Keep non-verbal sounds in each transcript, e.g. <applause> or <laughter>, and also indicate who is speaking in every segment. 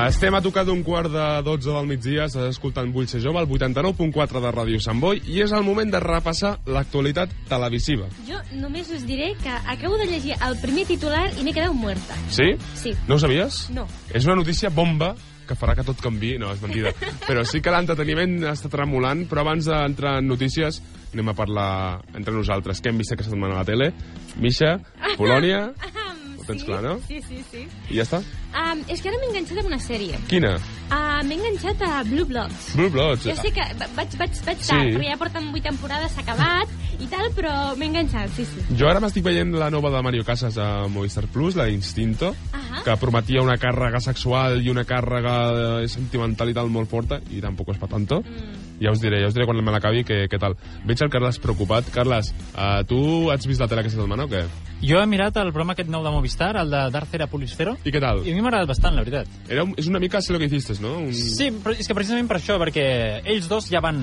Speaker 1: Estem a tocar d'un quart de 12 del migdia, estàs escoltant Vull ser jove, el 89.4 de Ràdio Sant Boi, i és el moment de repassar l'actualitat televisiva.
Speaker 2: Jo només us diré que acabo de llegir el primer titular i m'he quedat muerta.
Speaker 1: Sí?
Speaker 2: Sí.
Speaker 1: No ho sabies?
Speaker 2: No.
Speaker 1: És una notícia bomba que farà que tot canvi. No, és
Speaker 2: <laughs>
Speaker 1: mentida. Però sí que l'entreteniment està tremolant, però abans d'entrar en notícies anem a parlar entre nosaltres. Què hem vist aquesta setmana a la tele? Misha, Polònia...
Speaker 2: Um,
Speaker 1: Ho tens clar, no?
Speaker 2: Sí, sí, sí.
Speaker 1: I ja està.
Speaker 2: Um, és que ara m'he enganxat a una sèrie.
Speaker 1: Quina?
Speaker 2: Uh, m'he enganxat a Blue Bloods.
Speaker 1: Blue Bloods.
Speaker 2: Jo sé que va- vaig, vaig, vaig
Speaker 1: Sí.
Speaker 2: tard, perquè ja porten vuit temporades, s'ha acabat i tal, però m'he enganxat, sí, sí.
Speaker 1: Jo ara m'estic veient la nova de Mario Casas a Movistar Plus, la Instinto,
Speaker 2: Ahà.
Speaker 1: que prometia una càrrega sexual i una càrrega eh, sentimental i tal molt forta, i tampoc és pa tanto. Mm. Ja us diré, ja us diré quan me l'acabi que, que tal. Veig el Carles preocupat. Carles, uh, tu has vist la tele aquesta setmana o què?
Speaker 3: Jo he mirat el programa aquest nou de Movistar, el de Darcera Policero,
Speaker 1: I què tal?
Speaker 3: i a mi m'ha agradat bastant, la veritat.
Speaker 1: Era un, és una mica sé lo que hiciste, no? Un...
Speaker 3: Sí, però és que precisament per això, perquè ells dos ja van...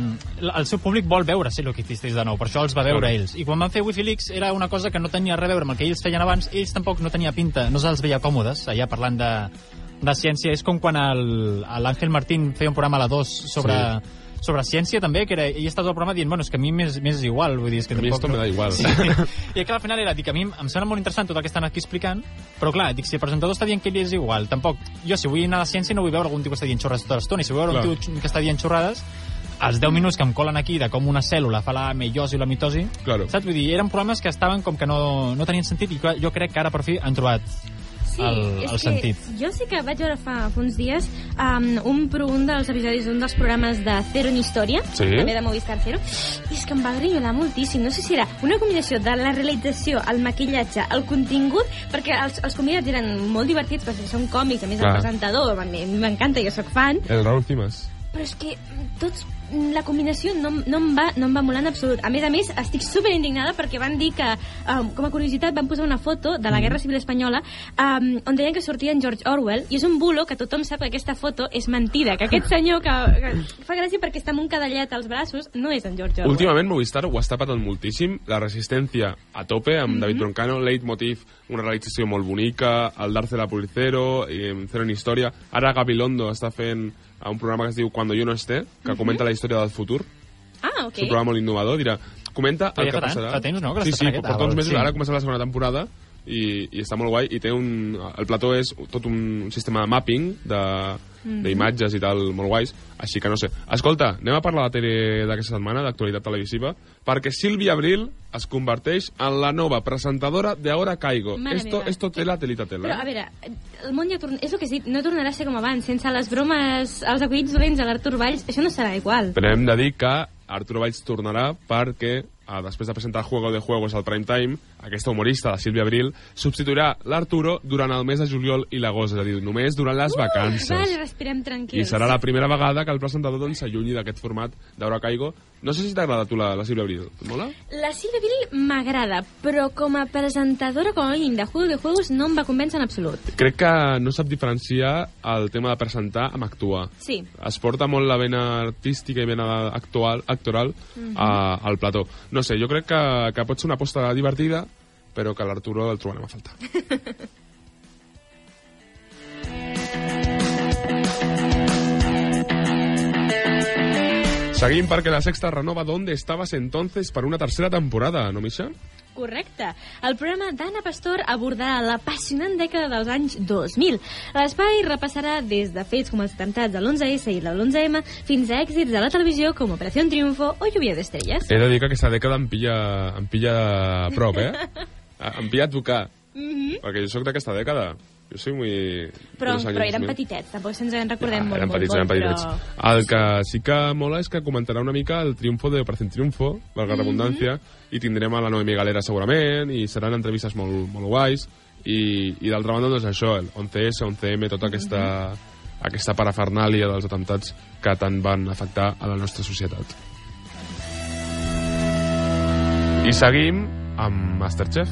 Speaker 3: El seu públic vol veure Sé lo que hicisteis de nou, per això els va veure
Speaker 1: Clar.
Speaker 3: ells. I quan van fer Wifi Leaks era una cosa que no tenia res a veure amb el que ells feien abans, ells tampoc no tenia pinta, no se'ls veia còmodes, allà parlant de, de ciència. És com quan el- l'Àngel Martín feia un programa a la 2 sobre... Sí sobre ciència també, que era, ell estava al programa dient, bueno, és que a mi m'és m'és igual, vull dir, és que
Speaker 1: A mi
Speaker 3: tampoc...
Speaker 1: esto me da igual.
Speaker 3: Sí. I clar, al final era, dic, a mi em sembla molt interessant tot el que estan aquí explicant, però clar, dic, si el presentador està dient que ell és igual, tampoc... Jo, si vull anar a la ciència, no vull veure algun tio que està dient xorrades tota l'estona, i si vull veure
Speaker 1: Clar.
Speaker 3: un tio que està dient xorrades, els 10 minuts que em colen aquí de com una cèl·lula fa la meiosi o la mitosi,
Speaker 1: Claro.
Speaker 3: saps? Vull dir, eren programes que estaven com que no, no tenien sentit i clar, jo crec que ara per fi han trobat
Speaker 2: Sí, és
Speaker 3: el, el
Speaker 2: que
Speaker 3: sentit.
Speaker 2: Jo sí que vaig veure fa, fa uns dies um, un, pro- un dels episodis d'un dels programes de Cero en Història,
Speaker 1: Sí?
Speaker 2: també de Movistar Cero, i és que em va grinyolar moltíssim. No sé si era una combinació de la realització, el maquillatge, el contingut, perquè els, els convidats eren molt divertits, perquè són còmics, a més
Speaker 1: Clar.
Speaker 2: el presentador, a mi a mi m'encanta, jo sóc fan,
Speaker 1: El Raúl Cimas.
Speaker 2: però és que tots la combinació no, em- no, em va, no em va molar en absolut. A més a més, estic super indignada perquè van dir que, um, com a curiositat, van posar una foto
Speaker 1: Mm.
Speaker 2: de la Guerra Civil Espanyola um, on deien que sortia en George Orwell i és un bulo que tothom sap que aquesta foto és mentida, que aquest senyor que, que fa gràcia perquè està amb un cadallet als braços no és en George Orwell.
Speaker 1: Últimament Movistar ho està patant moltíssim. La resistència a tope, amb mm -hmm. David Broncano, Leitmotiv, una realització molt bonica, el Darcela Policero, i Cero en Història. Ara Gabilondo està fent eh, un programa que es diu Cuando yo no esté, que comenta la història del futur.
Speaker 2: Ah,
Speaker 1: Okay. És un
Speaker 2: ok.
Speaker 1: programa molt innovador. Dirà, comenta
Speaker 3: Però
Speaker 1: el
Speaker 3: ja
Speaker 1: que
Speaker 3: fa tant,
Speaker 1: passarà.
Speaker 3: fa temps, no, que
Speaker 1: sí,
Speaker 3: l'està
Speaker 1: sí,
Speaker 3: fent aquest,
Speaker 1: porta uns
Speaker 3: ah,
Speaker 1: mesos,
Speaker 3: sí.
Speaker 1: ara comença la segona temporada i, i està molt guai i té un... El plató és tot un, un sistema de mapping de
Speaker 2: Mhm.
Speaker 1: d'imatges i tal molt guais, així que no sé. Escolta, anem a parlar de tele d'aquesta setmana, d'actualitat televisiva, perquè Sílvia Abril es converteix en la nova presentadora de Ahora Caigo.
Speaker 2: Mare
Speaker 1: esto,
Speaker 2: meva.
Speaker 1: esto tela, telita, tela.
Speaker 2: Però, a veure, el món ja torna... És el que has dit, no tornarà a ser com abans. Sense les bromes, els acudits dolents de l'Artur Valls, això no serà igual.
Speaker 1: Però hem de dir que Arturo Valls tornarà perquè, eh, després de presentar Juego de Juegos al Prime Time, aquesta humorista, la Sílvia Abril, substituirà l'Arturo durant el mes de juliol i l'agost, és a dir, només durant les vacances.
Speaker 2: Vale, respirem tranquils.
Speaker 1: I serà la primera vegada que el presentador doncs, s'allunyi d'aquest format d'Aura Caigo. No sé si t'agrada a tu la, la Sílvia Abril. Et mola?
Speaker 2: La Silvia Bill m'agrada, però com a presentadora, com a mínim, de Juego de Juegos no em va convèncer en absolut.
Speaker 1: Crec que no sap diferenciar el tema de presentar amb actuar.
Speaker 2: Sí.
Speaker 1: es porta molt la vena artística i vena actual, actoral mm -hmm. a, al plató. No sé, jo crec que, que pot ser una aposta divertida, però que l'Arturo el trobarem a faltar. Seguim perquè la sexta renova Donde estabas entonces per una tercera temporada, no, Misha?
Speaker 2: Correcte. El programa d'Anna Pastor abordarà l'apassionant dècada dels anys 2000. L'espai repassarà des de fets com els atemptats de l'11S i de l'11M fins a èxits de la televisió com Operació Triunfo o Lluvia d'Estrelles.
Speaker 1: He de dir que aquesta dècada em pilla, em pilla a prop,
Speaker 2: <laughs>
Speaker 1: eh? em pilla a tocar,
Speaker 2: Mm -hmm.
Speaker 1: perquè jo sóc d'aquesta dècada. Jo soc muy...
Speaker 2: però,
Speaker 1: dels anys
Speaker 2: però eren
Speaker 1: 2000.
Speaker 2: petitets, tampoc se'ns en recordem molt,
Speaker 1: Ah, eren
Speaker 2: molt,
Speaker 1: petits,
Speaker 2: molt,
Speaker 1: eren petitets.
Speaker 2: però...
Speaker 1: El que sí que mola és que comentarà una mica el triomfo de Operación Triunfo, valga
Speaker 2: Mhm.
Speaker 1: la redundància, i tindrem a la Noemi Galera segurament, i seran entrevistes molt, molt guais, i, i d'altra banda, doncs això, el 11S, 11M,
Speaker 2: Mhm.
Speaker 1: tota aquesta, aquesta parafernàlia dels atemptats que tant van afectar a la nostra societat. I seguim amb Masterchef.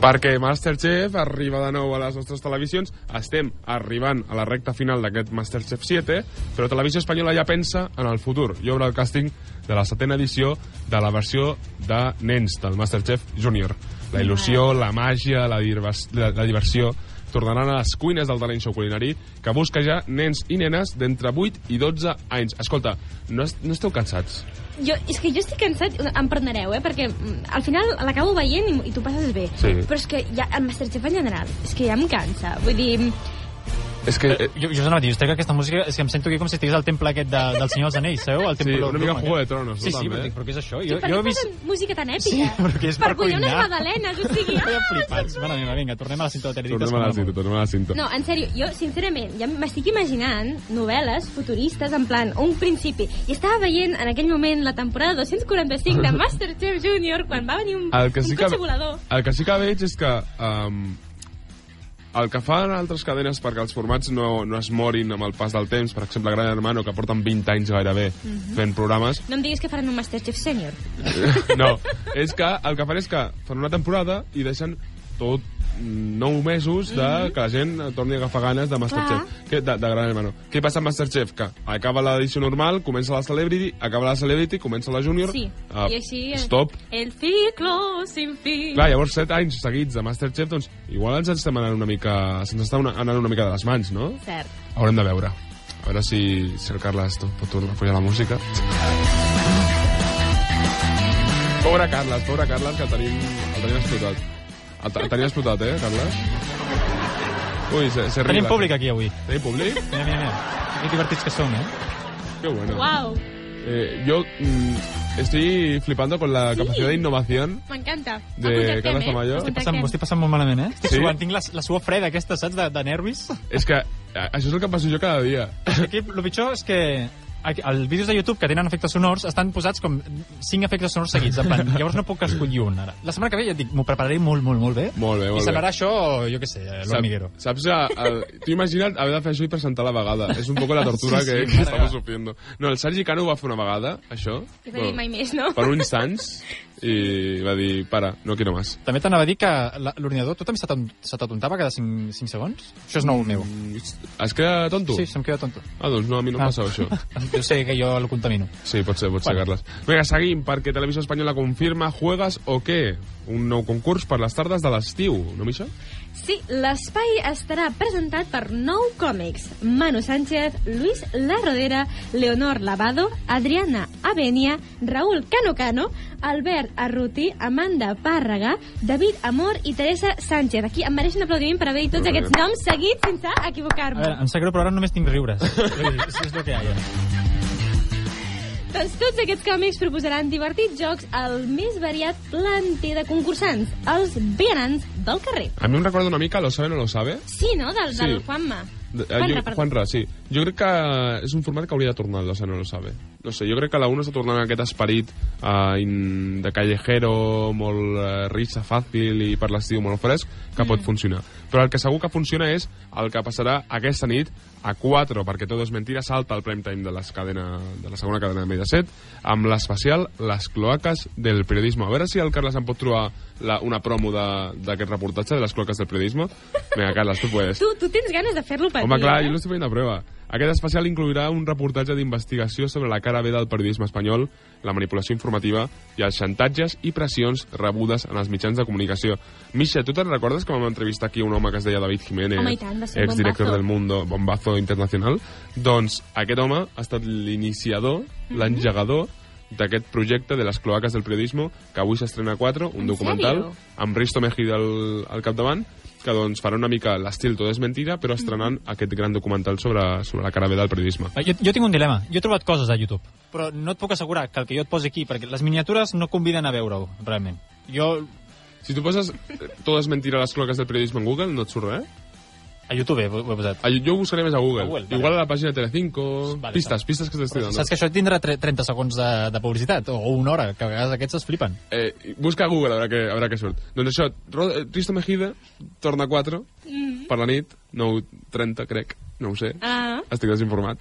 Speaker 1: perquè Masterchef arriba de nou a les nostres televisions. Estem arribant a la recta final d'aquest Masterchef 7, però Televisió Espanyola ja pensa en el futur. Hi haurà el càsting de la setena edició de la versió de nens del Masterchef Junior. La il·lusió, la màgia, la, divers, la, la diversió tornaran a les cuines del talent show culinari que busca ja nens i nenes d'entre 8 i 12 anys. Escolta, no, es- no esteu cansats?
Speaker 2: Jo, és que jo estic cansat, em perdonareu, eh? Perquè mm, al final l'acabo veient i, i tu passes bé.
Speaker 1: Sí.
Speaker 2: Però és que ja, el Masterchef en general, és que ja em cansa. Vull dir,
Speaker 1: És que... Eh,
Speaker 3: Jo, jo us anava a dir, ostres, que aquesta música, és que em sento aquí com si estigués al temple aquest de, del Senyor dels Anells, sabeu? El temple
Speaker 1: sí, una mica
Speaker 3: Doom,
Speaker 1: Juego de
Speaker 3: aquest.
Speaker 1: Tronos, eh. no,
Speaker 3: Sí, sí,
Speaker 1: també?
Speaker 3: però, dic, però què és això?
Speaker 2: jo,
Speaker 3: Jo,
Speaker 2: per
Speaker 3: jo
Speaker 2: què
Speaker 3: he vist...
Speaker 2: posen música tan èpica?
Speaker 3: Sí, perquè és per
Speaker 2: collir unes
Speaker 3: cuinar.
Speaker 2: magdalenes, o
Speaker 3: <laughs>
Speaker 2: sigui...
Speaker 3: Feia
Speaker 2: Ah,
Speaker 3: flipats. Mare meva, vinga, tornem a la cinta de Teredites.
Speaker 1: Tornem a la cinta, tornem a la cinta.
Speaker 2: No, en sèrio, jo, sincerament, ja m'estic imaginant novel·les futuristes, en plan, un principi. I estava veient en aquell moment la temporada 245 de Masterchef Junior, quan va venir un,
Speaker 1: el que sí
Speaker 2: un
Speaker 1: que,
Speaker 2: cotxe volador.
Speaker 1: el que sí que veig és que um, el que fan altres cadenes perquè els formats no, no es morin amb el pas del temps, per exemple Gran Hermano, que porten 20 anys gairebé
Speaker 2: Mhm.
Speaker 1: fent programes, <laughs>
Speaker 2: No em diguis que faran un Masterchef Senior.
Speaker 1: no, és que el que fan és que fan una temporada i deixen tot mm, nou mesos
Speaker 2: Mhm.
Speaker 1: de que la gent torni a agafar ganes de Masterchef, que, de, de Gran Hermano. Què passa amb Masterchef? Que acaba l'edició normal, comença la Celebrity, acaba la Celebrity, comença la Junior,
Speaker 2: Sí,
Speaker 1: ah,
Speaker 2: i així... eh,
Speaker 1: stop,
Speaker 2: El ciclo sin fin.
Speaker 1: Clar, llavors 7 anys seguits de Masterchef, doncs igual ens estem anant una mica... Se'ns està una, anant una mica de les mans, no?
Speaker 2: Cert.
Speaker 1: Haurem de veure. A veure si, si el Carles to- pot tornar a pujar la música. Pobre Carles, pobre Carles, que el tenim, el tenim explotat. El, te- el tenim explotat, eh, Carles? Ui, se, se
Speaker 3: Tenim
Speaker 1: rila.
Speaker 3: públic aquí avui.
Speaker 1: Tenim públic?
Speaker 3: Mira, mira, mira. Que divertits que som, eh?
Speaker 1: Qué bueno.
Speaker 2: Wow,
Speaker 1: Eh, yo mm, estoy flipando con la capacidad de innovación.
Speaker 2: m'encanta.
Speaker 1: De
Speaker 2: Apuntem,
Speaker 1: Carles Tamayo.
Speaker 2: Apuntem.
Speaker 1: Estic
Speaker 3: Passant, m'ho estic passant molt malament, eh? Estic
Speaker 1: Sí?
Speaker 3: suant, tinc la, la suor freda aquesta, saps, de, de nervis.
Speaker 1: És que eh, això és el que em passo jo cada dia.
Speaker 3: Aquí, el pitjor és que aquí, els vídeos de YouTube que tenen efectes sonors estan posats com 5 efectes sonors seguits. En
Speaker 1: <laughs>
Speaker 3: plan, llavors no puc escollir un, ara. La setmana que ve, ja et dic, m'ho prepararé molt, molt, molt bé.
Speaker 1: Molt bé, molt
Speaker 3: I
Speaker 1: bé.
Speaker 3: semblarà això, jo què sé, l'hormiguero.
Speaker 1: Sap- Saps, que, el, tu imagina't haver de fer això i presentar a la vegada. És un poc la tortura
Speaker 3: Sí, sí,
Speaker 1: que,
Speaker 3: mare
Speaker 1: que
Speaker 3: meva.
Speaker 1: estamos sufriendo. No, el Sergi Cano ho va fer una vegada, això.
Speaker 2: I no dic mai més, no?
Speaker 1: Per uns sants, i va dir, para, no quiero más.
Speaker 3: També t'anava a dir que la- l'ordinador, tu també se t'aton- se t'atontava cada 5, 5 segons? Això és nou meu.
Speaker 1: Mm, Has quedat tonto?
Speaker 3: Sí, se'm queda tonto.
Speaker 1: Ah, doncs no, a mi no em
Speaker 3: Ah.
Speaker 1: passava això.
Speaker 3: Jo sé que jo el contamino.
Speaker 1: Sí, pot ser, pot ser,
Speaker 3: Bueno.
Speaker 1: Carles. Vinga, seguim, perquè Televisió Espanyola confirma Juegas o què? Un nou concurs per les tardes de l'estiu, no, Misha?
Speaker 2: Sí, l'espai estarà presentat per nou còmics. Manu Sánchez, Luis Larrodera, Leonor Lavado, Adriana Avenia, Raúl Canocano, Albert Arruti, Amanda Pàrrega, David Amor i Teresa Sánchez. Aquí em mereix un aplaudiment per haver dit tots
Speaker 1: Molt bé.
Speaker 2: aquests noms seguits sense
Speaker 3: A veure,
Speaker 2: equivocar-me.
Speaker 3: em sap greu, però ara només tinc
Speaker 1: <laughs>
Speaker 3: riures. Vull dir, és el que hi ha.
Speaker 2: Doncs tots aquests còmics proposaran divertits jocs al més variat planter de concursants, els vianants del carrer.
Speaker 1: A mi em recorda una mica Lo sabe, no lo sabe.
Speaker 2: Sí, no? Del,
Speaker 1: Sí.
Speaker 2: del Juanma.
Speaker 1: De- eh,
Speaker 2: Juanra,
Speaker 1: jo,
Speaker 2: perdó.
Speaker 1: Juanra, sí. Jo crec que és un format que hauria de tornar, la no lo sabe. No sé, jo crec que la 1 està tornant a aquest esperit eh, in, de callejero, molt eh, risa fàcil i per l'estiu molt fresc, que
Speaker 2: Mm.
Speaker 1: pot funcionar. Però el que segur que funciona és el que passarà aquesta nit a 4, perquè tot és mentira, salta el prime time de, les cadena, de la segona cadena de Mediaset, amb l'especial Les cloaques del periodisme. A veure si el Carles em pot trobar la, una promo de- d'aquest reportatge de les cloaques del periodisme. Vinga, Carles, tu puedes.
Speaker 2: Tu, tu tens ganes de fer-lo patir,
Speaker 1: Home, clar,
Speaker 2: eh?
Speaker 1: jo l'estic veient a prova. Aquest especial inclourà un reportatge d'investigació sobre la cara B del periodisme espanyol, la manipulació informativa i els xantatges i pressions rebudes en els mitjans de comunicació. Misha, tu te'n recordes que vam entrevistar aquí un home que es deia David Jiménez,
Speaker 2: Home, i tant, va ser un
Speaker 1: exdirector
Speaker 2: bombazo.
Speaker 1: del Mundo, bombazo internacional? Doncs aquest home ha estat l'iniciador,
Speaker 2: Mhm.
Speaker 1: l'engegador, d'aquest projecte de les cloaques del periodisme que avui s'estrena a 4, un
Speaker 2: En
Speaker 1: documental
Speaker 2: sèrio?
Speaker 1: amb Risto Mejide al, al capdavant, que doncs farà una mica l'estil tot és mentira, però estrenant aquest gran documental sobre, sobre la cara B del periodisme.
Speaker 3: Ah, Jo, jo tinc un dilema. Jo he trobat coses a YouTube, però no et puc assegurar que el que jo et posi aquí, perquè les miniatures no conviden a veure-ho, realment. Jo,
Speaker 1: Si tu poses eh, tot és mentira a les cloques del periodisme en Google, no et surt res?
Speaker 3: a YouTube eh, ho, ho he posat.
Speaker 1: Ah, Jo, jo ho buscaré més a Google.
Speaker 3: A Google, vale.
Speaker 1: Igual a la pàgina de Telecinco...
Speaker 3: Vale,
Speaker 1: pistes,
Speaker 3: vale.
Speaker 1: pistes que t'estic
Speaker 3: Però,
Speaker 1: donant.
Speaker 3: saps que això tindrà tre- 30 segons de, de publicitat, o una hora, que a vegades aquests es flipen.
Speaker 1: Eh, busca a Google a veure, què, a veure què surt. Doncs això, Ro- eh, Risto Mejide torna a 4 per la nit, 9.30 crec, No ho sé.
Speaker 2: Ah,
Speaker 1: Estic
Speaker 2: <laughs>
Speaker 1: desinformat.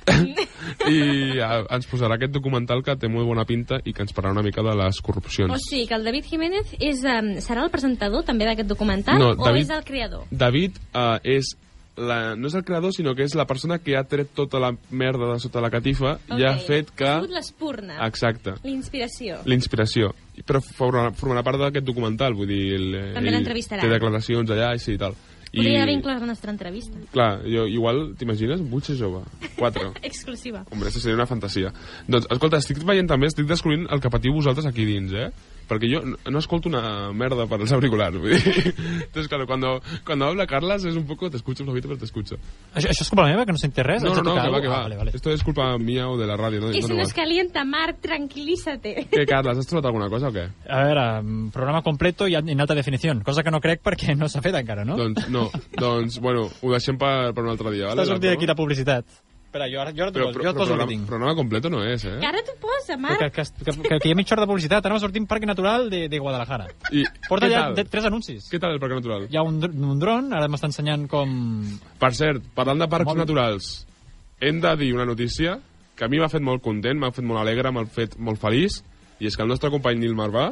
Speaker 1: I eh, ens posarà aquest documental que té molt bona pinta i que ens parlarà una mica de les corrupcions.
Speaker 2: o sigui que el David Jiménez és, um, serà el presentador també d'aquest documental
Speaker 1: No,
Speaker 2: o
Speaker 1: David-
Speaker 2: és el creador?
Speaker 1: David eh, és la, no és el creador, sinó que és la persona que ha tret tota la merda de sota la catifa okay. i ha
Speaker 2: Ok.
Speaker 1: fet que...
Speaker 2: Ha sigut l'espurna,
Speaker 1: Exacte,
Speaker 2: l'inspiració.
Speaker 1: l'inspiració. Però formarà, formarà part d'aquest documental, vull dir... El,
Speaker 2: També
Speaker 1: ell
Speaker 2: l'entrevistaran.
Speaker 1: Té declaracions allà i sí i tal. I,
Speaker 2: Podria haver inclòs la nostra entrevista. <laughs>
Speaker 1: Clar, jo, igual, t'imagines? Butxa jove. Quatre.
Speaker 2: Exclusiva.
Speaker 1: Hombre, això seria una fantasia. Doncs, escolta, estic veient també, estic descobrint el que patiu vosaltres aquí dins, eh? Perquè jo no, no escolto una merda per els auriculars, vull dir. Entonces, claro, cuando, cuando habla Carlas es un poco, te escucho un poquito, pero te escucho.
Speaker 3: Això, això és culpa meva, que no sentia res?
Speaker 1: No,
Speaker 3: Haig
Speaker 1: no, no,
Speaker 3: de tocar
Speaker 1: que va,
Speaker 3: alguna
Speaker 1: que
Speaker 3: cosa?
Speaker 1: va.
Speaker 3: Ah, vale, vale.
Speaker 1: Esto es culpa mía o de la radio, ¿no? no,
Speaker 2: I si
Speaker 1: no va.
Speaker 2: no es calienta, Marc, tranquilízate.
Speaker 1: Què, Carles, has trobat alguna cosa o què?
Speaker 3: A veure, mm, programa completo i en alta definició, cosa que no crec perquè no s'ha fet encara, no?
Speaker 1: Doncs, no, doncs, bueno, ho deixem per, per un altre dia, vale?
Speaker 3: Està sortint aquí la publicitat. Espera, jo ara, jo ara t'ho
Speaker 1: Però,
Speaker 3: poso, jo
Speaker 1: però,
Speaker 3: et
Speaker 1: però,
Speaker 3: poso el
Speaker 1: programa,
Speaker 3: que tinc.
Speaker 1: programa completo no és,
Speaker 2: Que
Speaker 1: eh?
Speaker 2: ara t'ho posa, Marc.
Speaker 3: Que, que, que, que, que hi ha mitja hora de publicitat, anem a sortir un parc natural de, de Guadalajara.
Speaker 1: I,
Speaker 3: Porta
Speaker 1: què
Speaker 3: ja
Speaker 1: tal?
Speaker 3: de, tres anuncis.
Speaker 1: Què tal el Parc Natural?
Speaker 3: Hi ha un, dr- un dron, ara m'està ensenyant com...
Speaker 1: Per cert, parlant de parcs
Speaker 3: Molt bé.
Speaker 1: naturals, hem de dir una notícia que a mi m'ha fet molt content, m'ha fet molt alegre, m'ha fet molt feliç, i és que el nostre company Nil Marvà,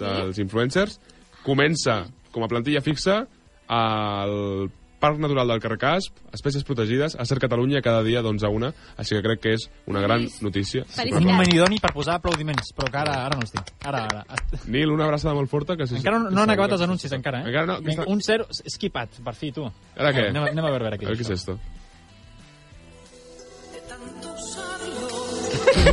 Speaker 1: dels influencers, comença com a plantilla fixa al Parc Natural del Carcasp, Espècies Protegides, a Ser Catalunya cada dia d'11 a 1, així que crec que és una gran
Speaker 2: Feliç.
Speaker 1: notícia.
Speaker 2: Felicitats.
Speaker 3: Un manidoni per posar aplaudiments, però que ara, ara no els tinc. Ara, ara.
Speaker 1: Nil, una abraçada molt forta. Que si
Speaker 3: Encara no, no han acabat els anuncis, encara, eh?
Speaker 1: Encara no, que
Speaker 3: Vinga,
Speaker 1: està-
Speaker 3: Un zero esquipat, per fi, tu.
Speaker 1: Ara què?
Speaker 3: Anem, a- anem a veure, a veure
Speaker 1: A veure què és
Speaker 3: què és.
Speaker 1: esto.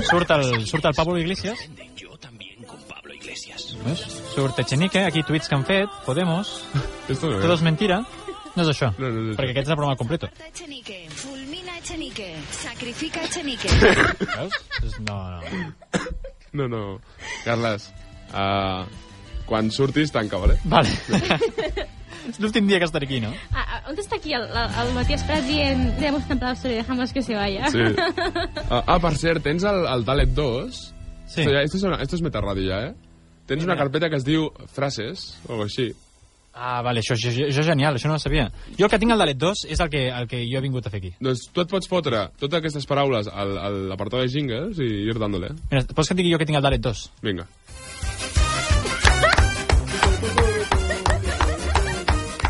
Speaker 3: Surt el, surt el Pablo Iglesias.
Speaker 4: Yo también con Pablo Iglesias.
Speaker 3: Veus? Surt Echenique, aquí tuits que han fet, Podemos,
Speaker 1: Esto no
Speaker 3: tot
Speaker 1: és.
Speaker 3: és mentira. No és això,
Speaker 1: No, no, no, no.
Speaker 3: perquè aquest és el programa completo.
Speaker 5: Mata Echenique, fulmina Echenique, sacrifica Echenique.
Speaker 3: Veus? És- No, no.
Speaker 1: No, no. Carles, uh, quan surtis, tanca, vale?
Speaker 3: Vale. és l'últim dia que estaré aquí, no?
Speaker 2: Ah, ah, on està aquí el, el, el Matías Prats dient le hemos cantado sobre dejamos que se vaya?
Speaker 1: Sí. Ah, ah, per cert, tens el, el Dalet 2.
Speaker 3: Sí.
Speaker 1: Esto, ja, esto, es una, esto es metarradio ja, eh? Tens una carpeta que es diu frases, o algo així.
Speaker 3: Ah, vale, això, això, això és genial, això no ho sabia. Jo el que tinc al Dalet 2 és el que, el que jo he vingut a fer aquí.
Speaker 1: Doncs tu et pots fotre totes aquestes paraules al, a l'apartat de jingles i ir dándole.
Speaker 3: Mira, pots que et digui jo que tinc el Dalet 2?
Speaker 1: Vinga.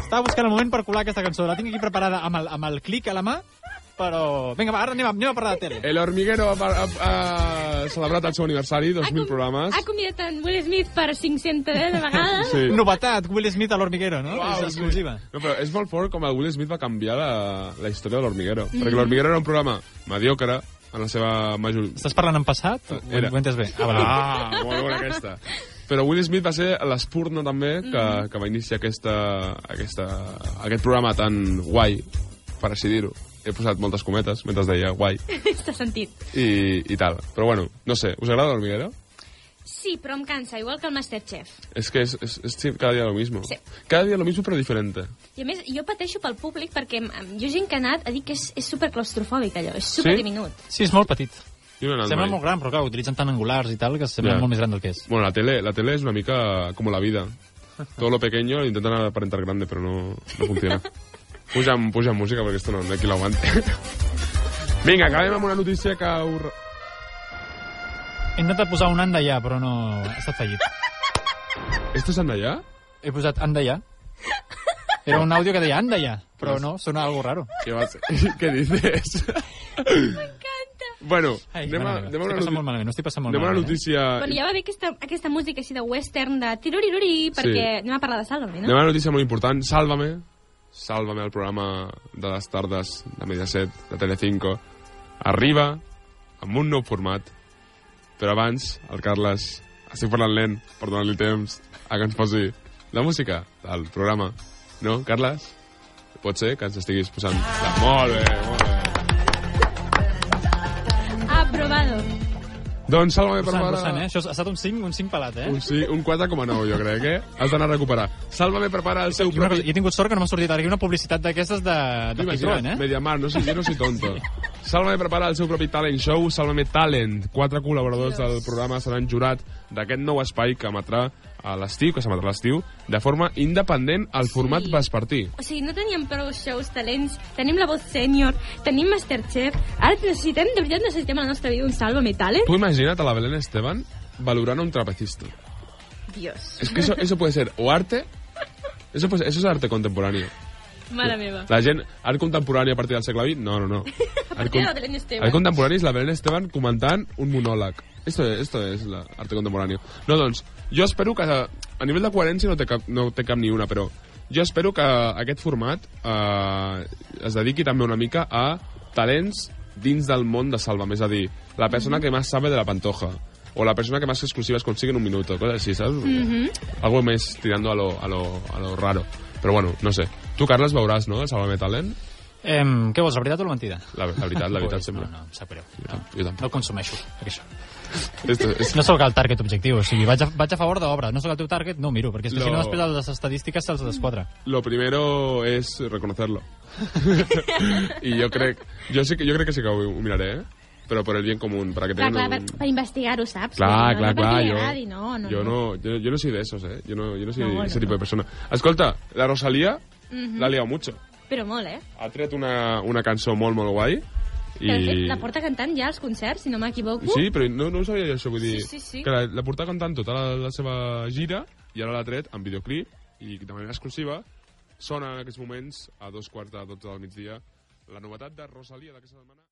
Speaker 3: Estava buscant el moment per colar aquesta cançó, la tinc aquí preparada amb el, amb el clic a la mà, però... Vinga, va, ara anem a, anem a parlar de tele.
Speaker 1: El Hormiguero ha, ha, ha celebrat el seu aniversari,
Speaker 2: Ha com- Ah,
Speaker 1: 2.000 programes.
Speaker 2: Ha convidat en Will Smith per 500 de vegades. <laughs>
Speaker 1: Sí.
Speaker 3: Novetat, Will Smith a l'Hormiguero, no?
Speaker 1: Eh. Uau,
Speaker 3: és exclusiva.
Speaker 1: No, però és molt fort com el Will Smith va canviar la, la història de l'Hormiguero. Mm. Perquè l'Hormiguero era un programa mediocre, en la seva major...
Speaker 3: Estàs parlant en passat? Ho
Speaker 1: Eh, Era.
Speaker 3: ho he entès bé. Ah, vale.
Speaker 1: Ah, molt bona aquesta. Però Will Smith va ser l'espurna també que, que va iniciar aquesta, aquesta, aquest programa tan guai, per així dir-ho. He posat moltes cometes mentre deia guai
Speaker 2: T'ha sentit.
Speaker 1: i, i tal. Però bueno, no sé, us agrada l'Hormiguero?
Speaker 2: Sí, però em cansa, igual que el Masterchef.
Speaker 1: És que és, és, és sí, cada dia lo mismo.
Speaker 2: Sí.
Speaker 1: Cada dia lo mismo però diferente.
Speaker 2: I a més, jo pateixo pel públic perquè em- jo gent que ha anat a dir que és, és superclaustrofòbic allò, és superdiminut.
Speaker 3: Sí, és molt petit.
Speaker 1: Jo no he anat
Speaker 3: Sembla
Speaker 1: mai.
Speaker 3: molt gran, però clar, utilitzen tant angulars i tal que sembla
Speaker 1: Ja.
Speaker 3: molt més gran del que és.
Speaker 1: Bueno, la tele, la tele es una mica como la vida. Todo lo pequeño lo intentan aparentar grande, pero no, no funciona. Puja'm, puja'm música, perquè esto no, no hi ha qui <laughs> l'aguante. Vinga, acabem amb una notícia que... Ur...
Speaker 3: He intentat posar un anda ja, però no... Ha estat fallit.
Speaker 1: Esto és Andallà?
Speaker 3: He posat anda ja. Era un àudio que deia anda ja, però no, sona algo raro.
Speaker 1: Què, <laughs> vas... Què dices?
Speaker 2: M'encanta!
Speaker 1: bueno,
Speaker 3: Ai,
Speaker 1: anem a,
Speaker 3: mare meva,
Speaker 1: anem a una,
Speaker 3: estic passant molt
Speaker 1: noti-
Speaker 3: malament, no estic passant molt
Speaker 1: anem a una
Speaker 3: malament. eh?
Speaker 1: notícia...
Speaker 2: Bueno, ja va bé aquesta, aquesta música així de western, de tiruriruri, perquè anem a parlar de Salome, no?
Speaker 1: Anem a una notícia molt important. Sálvame. Sálvame, el programa de les tardes de Mediaset, de Telecinco. Arriba amb un nou format. Però abans, el Carles, estic parlant lent per donar-li temps a que ens posi la música del programa. No, Carles? Pot ser que ens estiguis posant... La... Molt bé, molt bé.
Speaker 2: Aprovado.
Speaker 1: Doncs Sálvame per
Speaker 3: Rossant,
Speaker 1: favor.
Speaker 3: Rossant, eh? Això ha estat un 5, un 5 pelat, eh?
Speaker 1: Un, sí, un 4,9 jo crec, eh? Has d'anar a recuperar. Sálvame prepara el seu
Speaker 3: I una cosa,
Speaker 1: propi...
Speaker 3: jo he tingut sort que no m'ha sortit ara aquí una publicitat d'aquestes de, de Citroën, eh?
Speaker 1: Mediamar, no sé, jo no soy tonto. Sálvame prepara el seu propi talent show, Sálvame Talent. Quatre col·laboradors del programa seran jurat d'aquest nou espai que emetrà a l'estiu, que s'emetrà a l'estiu, de forma independent al format
Speaker 2: Sí.
Speaker 1: vespertí.
Speaker 2: O sigui, no teníem prou shows, talents, tenim la voz sènior, tenim Masterchef, ara necessitem, de veritat necessitem a la nostra vida un Sálvame Talent.
Speaker 1: Tú imagínate a la Belén Esteban valorando a un trapecista.
Speaker 2: Dios,
Speaker 1: Es que eso, eso puede ser o arte... Eso, pues, eso es arte contemporáneo.
Speaker 2: mare meva.
Speaker 1: La gent, art contemporani a partir del segle XX? No, no, no. Art,
Speaker 2: partir de la Belén Esteban.
Speaker 1: art contemporani és la Belén Esteban comentant un monòleg. Esto, es- esto es la arte contemporáneo. No, doncs, jo espero que... A nivell de coherència no té cap, no té cap ni una, però jo espero que aquest format eh, es dediqui també una mica a talents dins del món de Salva. És a dir, la persona que més sabe de la pantoja o la persona que más exclusivas consigue en un minuto, cosas así, ¿sabes? Algo més tirando a lo, a, lo, a lo raro. Però bueno, no sé. Tu, Carles, veuràs, no?, el Salvame Talent?
Speaker 3: Em, què vols, la veritat o la mentida?
Speaker 1: La, la veritat, la
Speaker 3: <laughs>
Speaker 1: veritat sempre.
Speaker 3: No, no, em sap greu.
Speaker 1: Jo
Speaker 3: No,
Speaker 1: tam- Jo tampoc.
Speaker 3: no consumeixo, això.
Speaker 1: Esto es-
Speaker 3: No sóc el target objectiu, o sigui, vaig a, vaig a favor d'obra, no sóc el teu target, no ho miro, perquè és que si
Speaker 1: No.
Speaker 3: no després de les estadístiques se'ls desquadra.
Speaker 1: Lo primero es
Speaker 2: <laughs>
Speaker 1: reconocerlo. y yo creo, yo sé que yo creo que sí que ho, ho miraré, eh? Però per el bien común, para que
Speaker 2: Clar,
Speaker 1: tengan
Speaker 2: clar,
Speaker 1: un...
Speaker 2: per, per investigar-ho, saps?
Speaker 1: Clar,
Speaker 2: no,
Speaker 1: clar,
Speaker 2: no
Speaker 1: clar,
Speaker 2: perquè
Speaker 1: jo,
Speaker 2: m'agradi, no, no,
Speaker 1: jo, no, jo, jo no soy de esos, eh? Yo no, yo no soy
Speaker 2: No, bueno,
Speaker 1: ese tipo
Speaker 2: no.
Speaker 1: de persona. Escolta, la Rosalía l'ha liado mucho.
Speaker 2: Però molt, eh?
Speaker 1: Ha tret una, una cançó molt, molt guai.
Speaker 2: I... De fet,
Speaker 1: I...
Speaker 2: la porta cantant ja als concerts, si no m'equivoco.
Speaker 1: Sí, però no, no ho sabia jo, això, vull dir...
Speaker 2: Sí, sí, sí.
Speaker 1: Que la, la portava cantant tota la, la seva gira i ara l'ha tret en videoclip i de manera exclusiva sona en aquests moments a dos quarts de dotze del migdia la novetat de Rosalia d'aquesta setmana.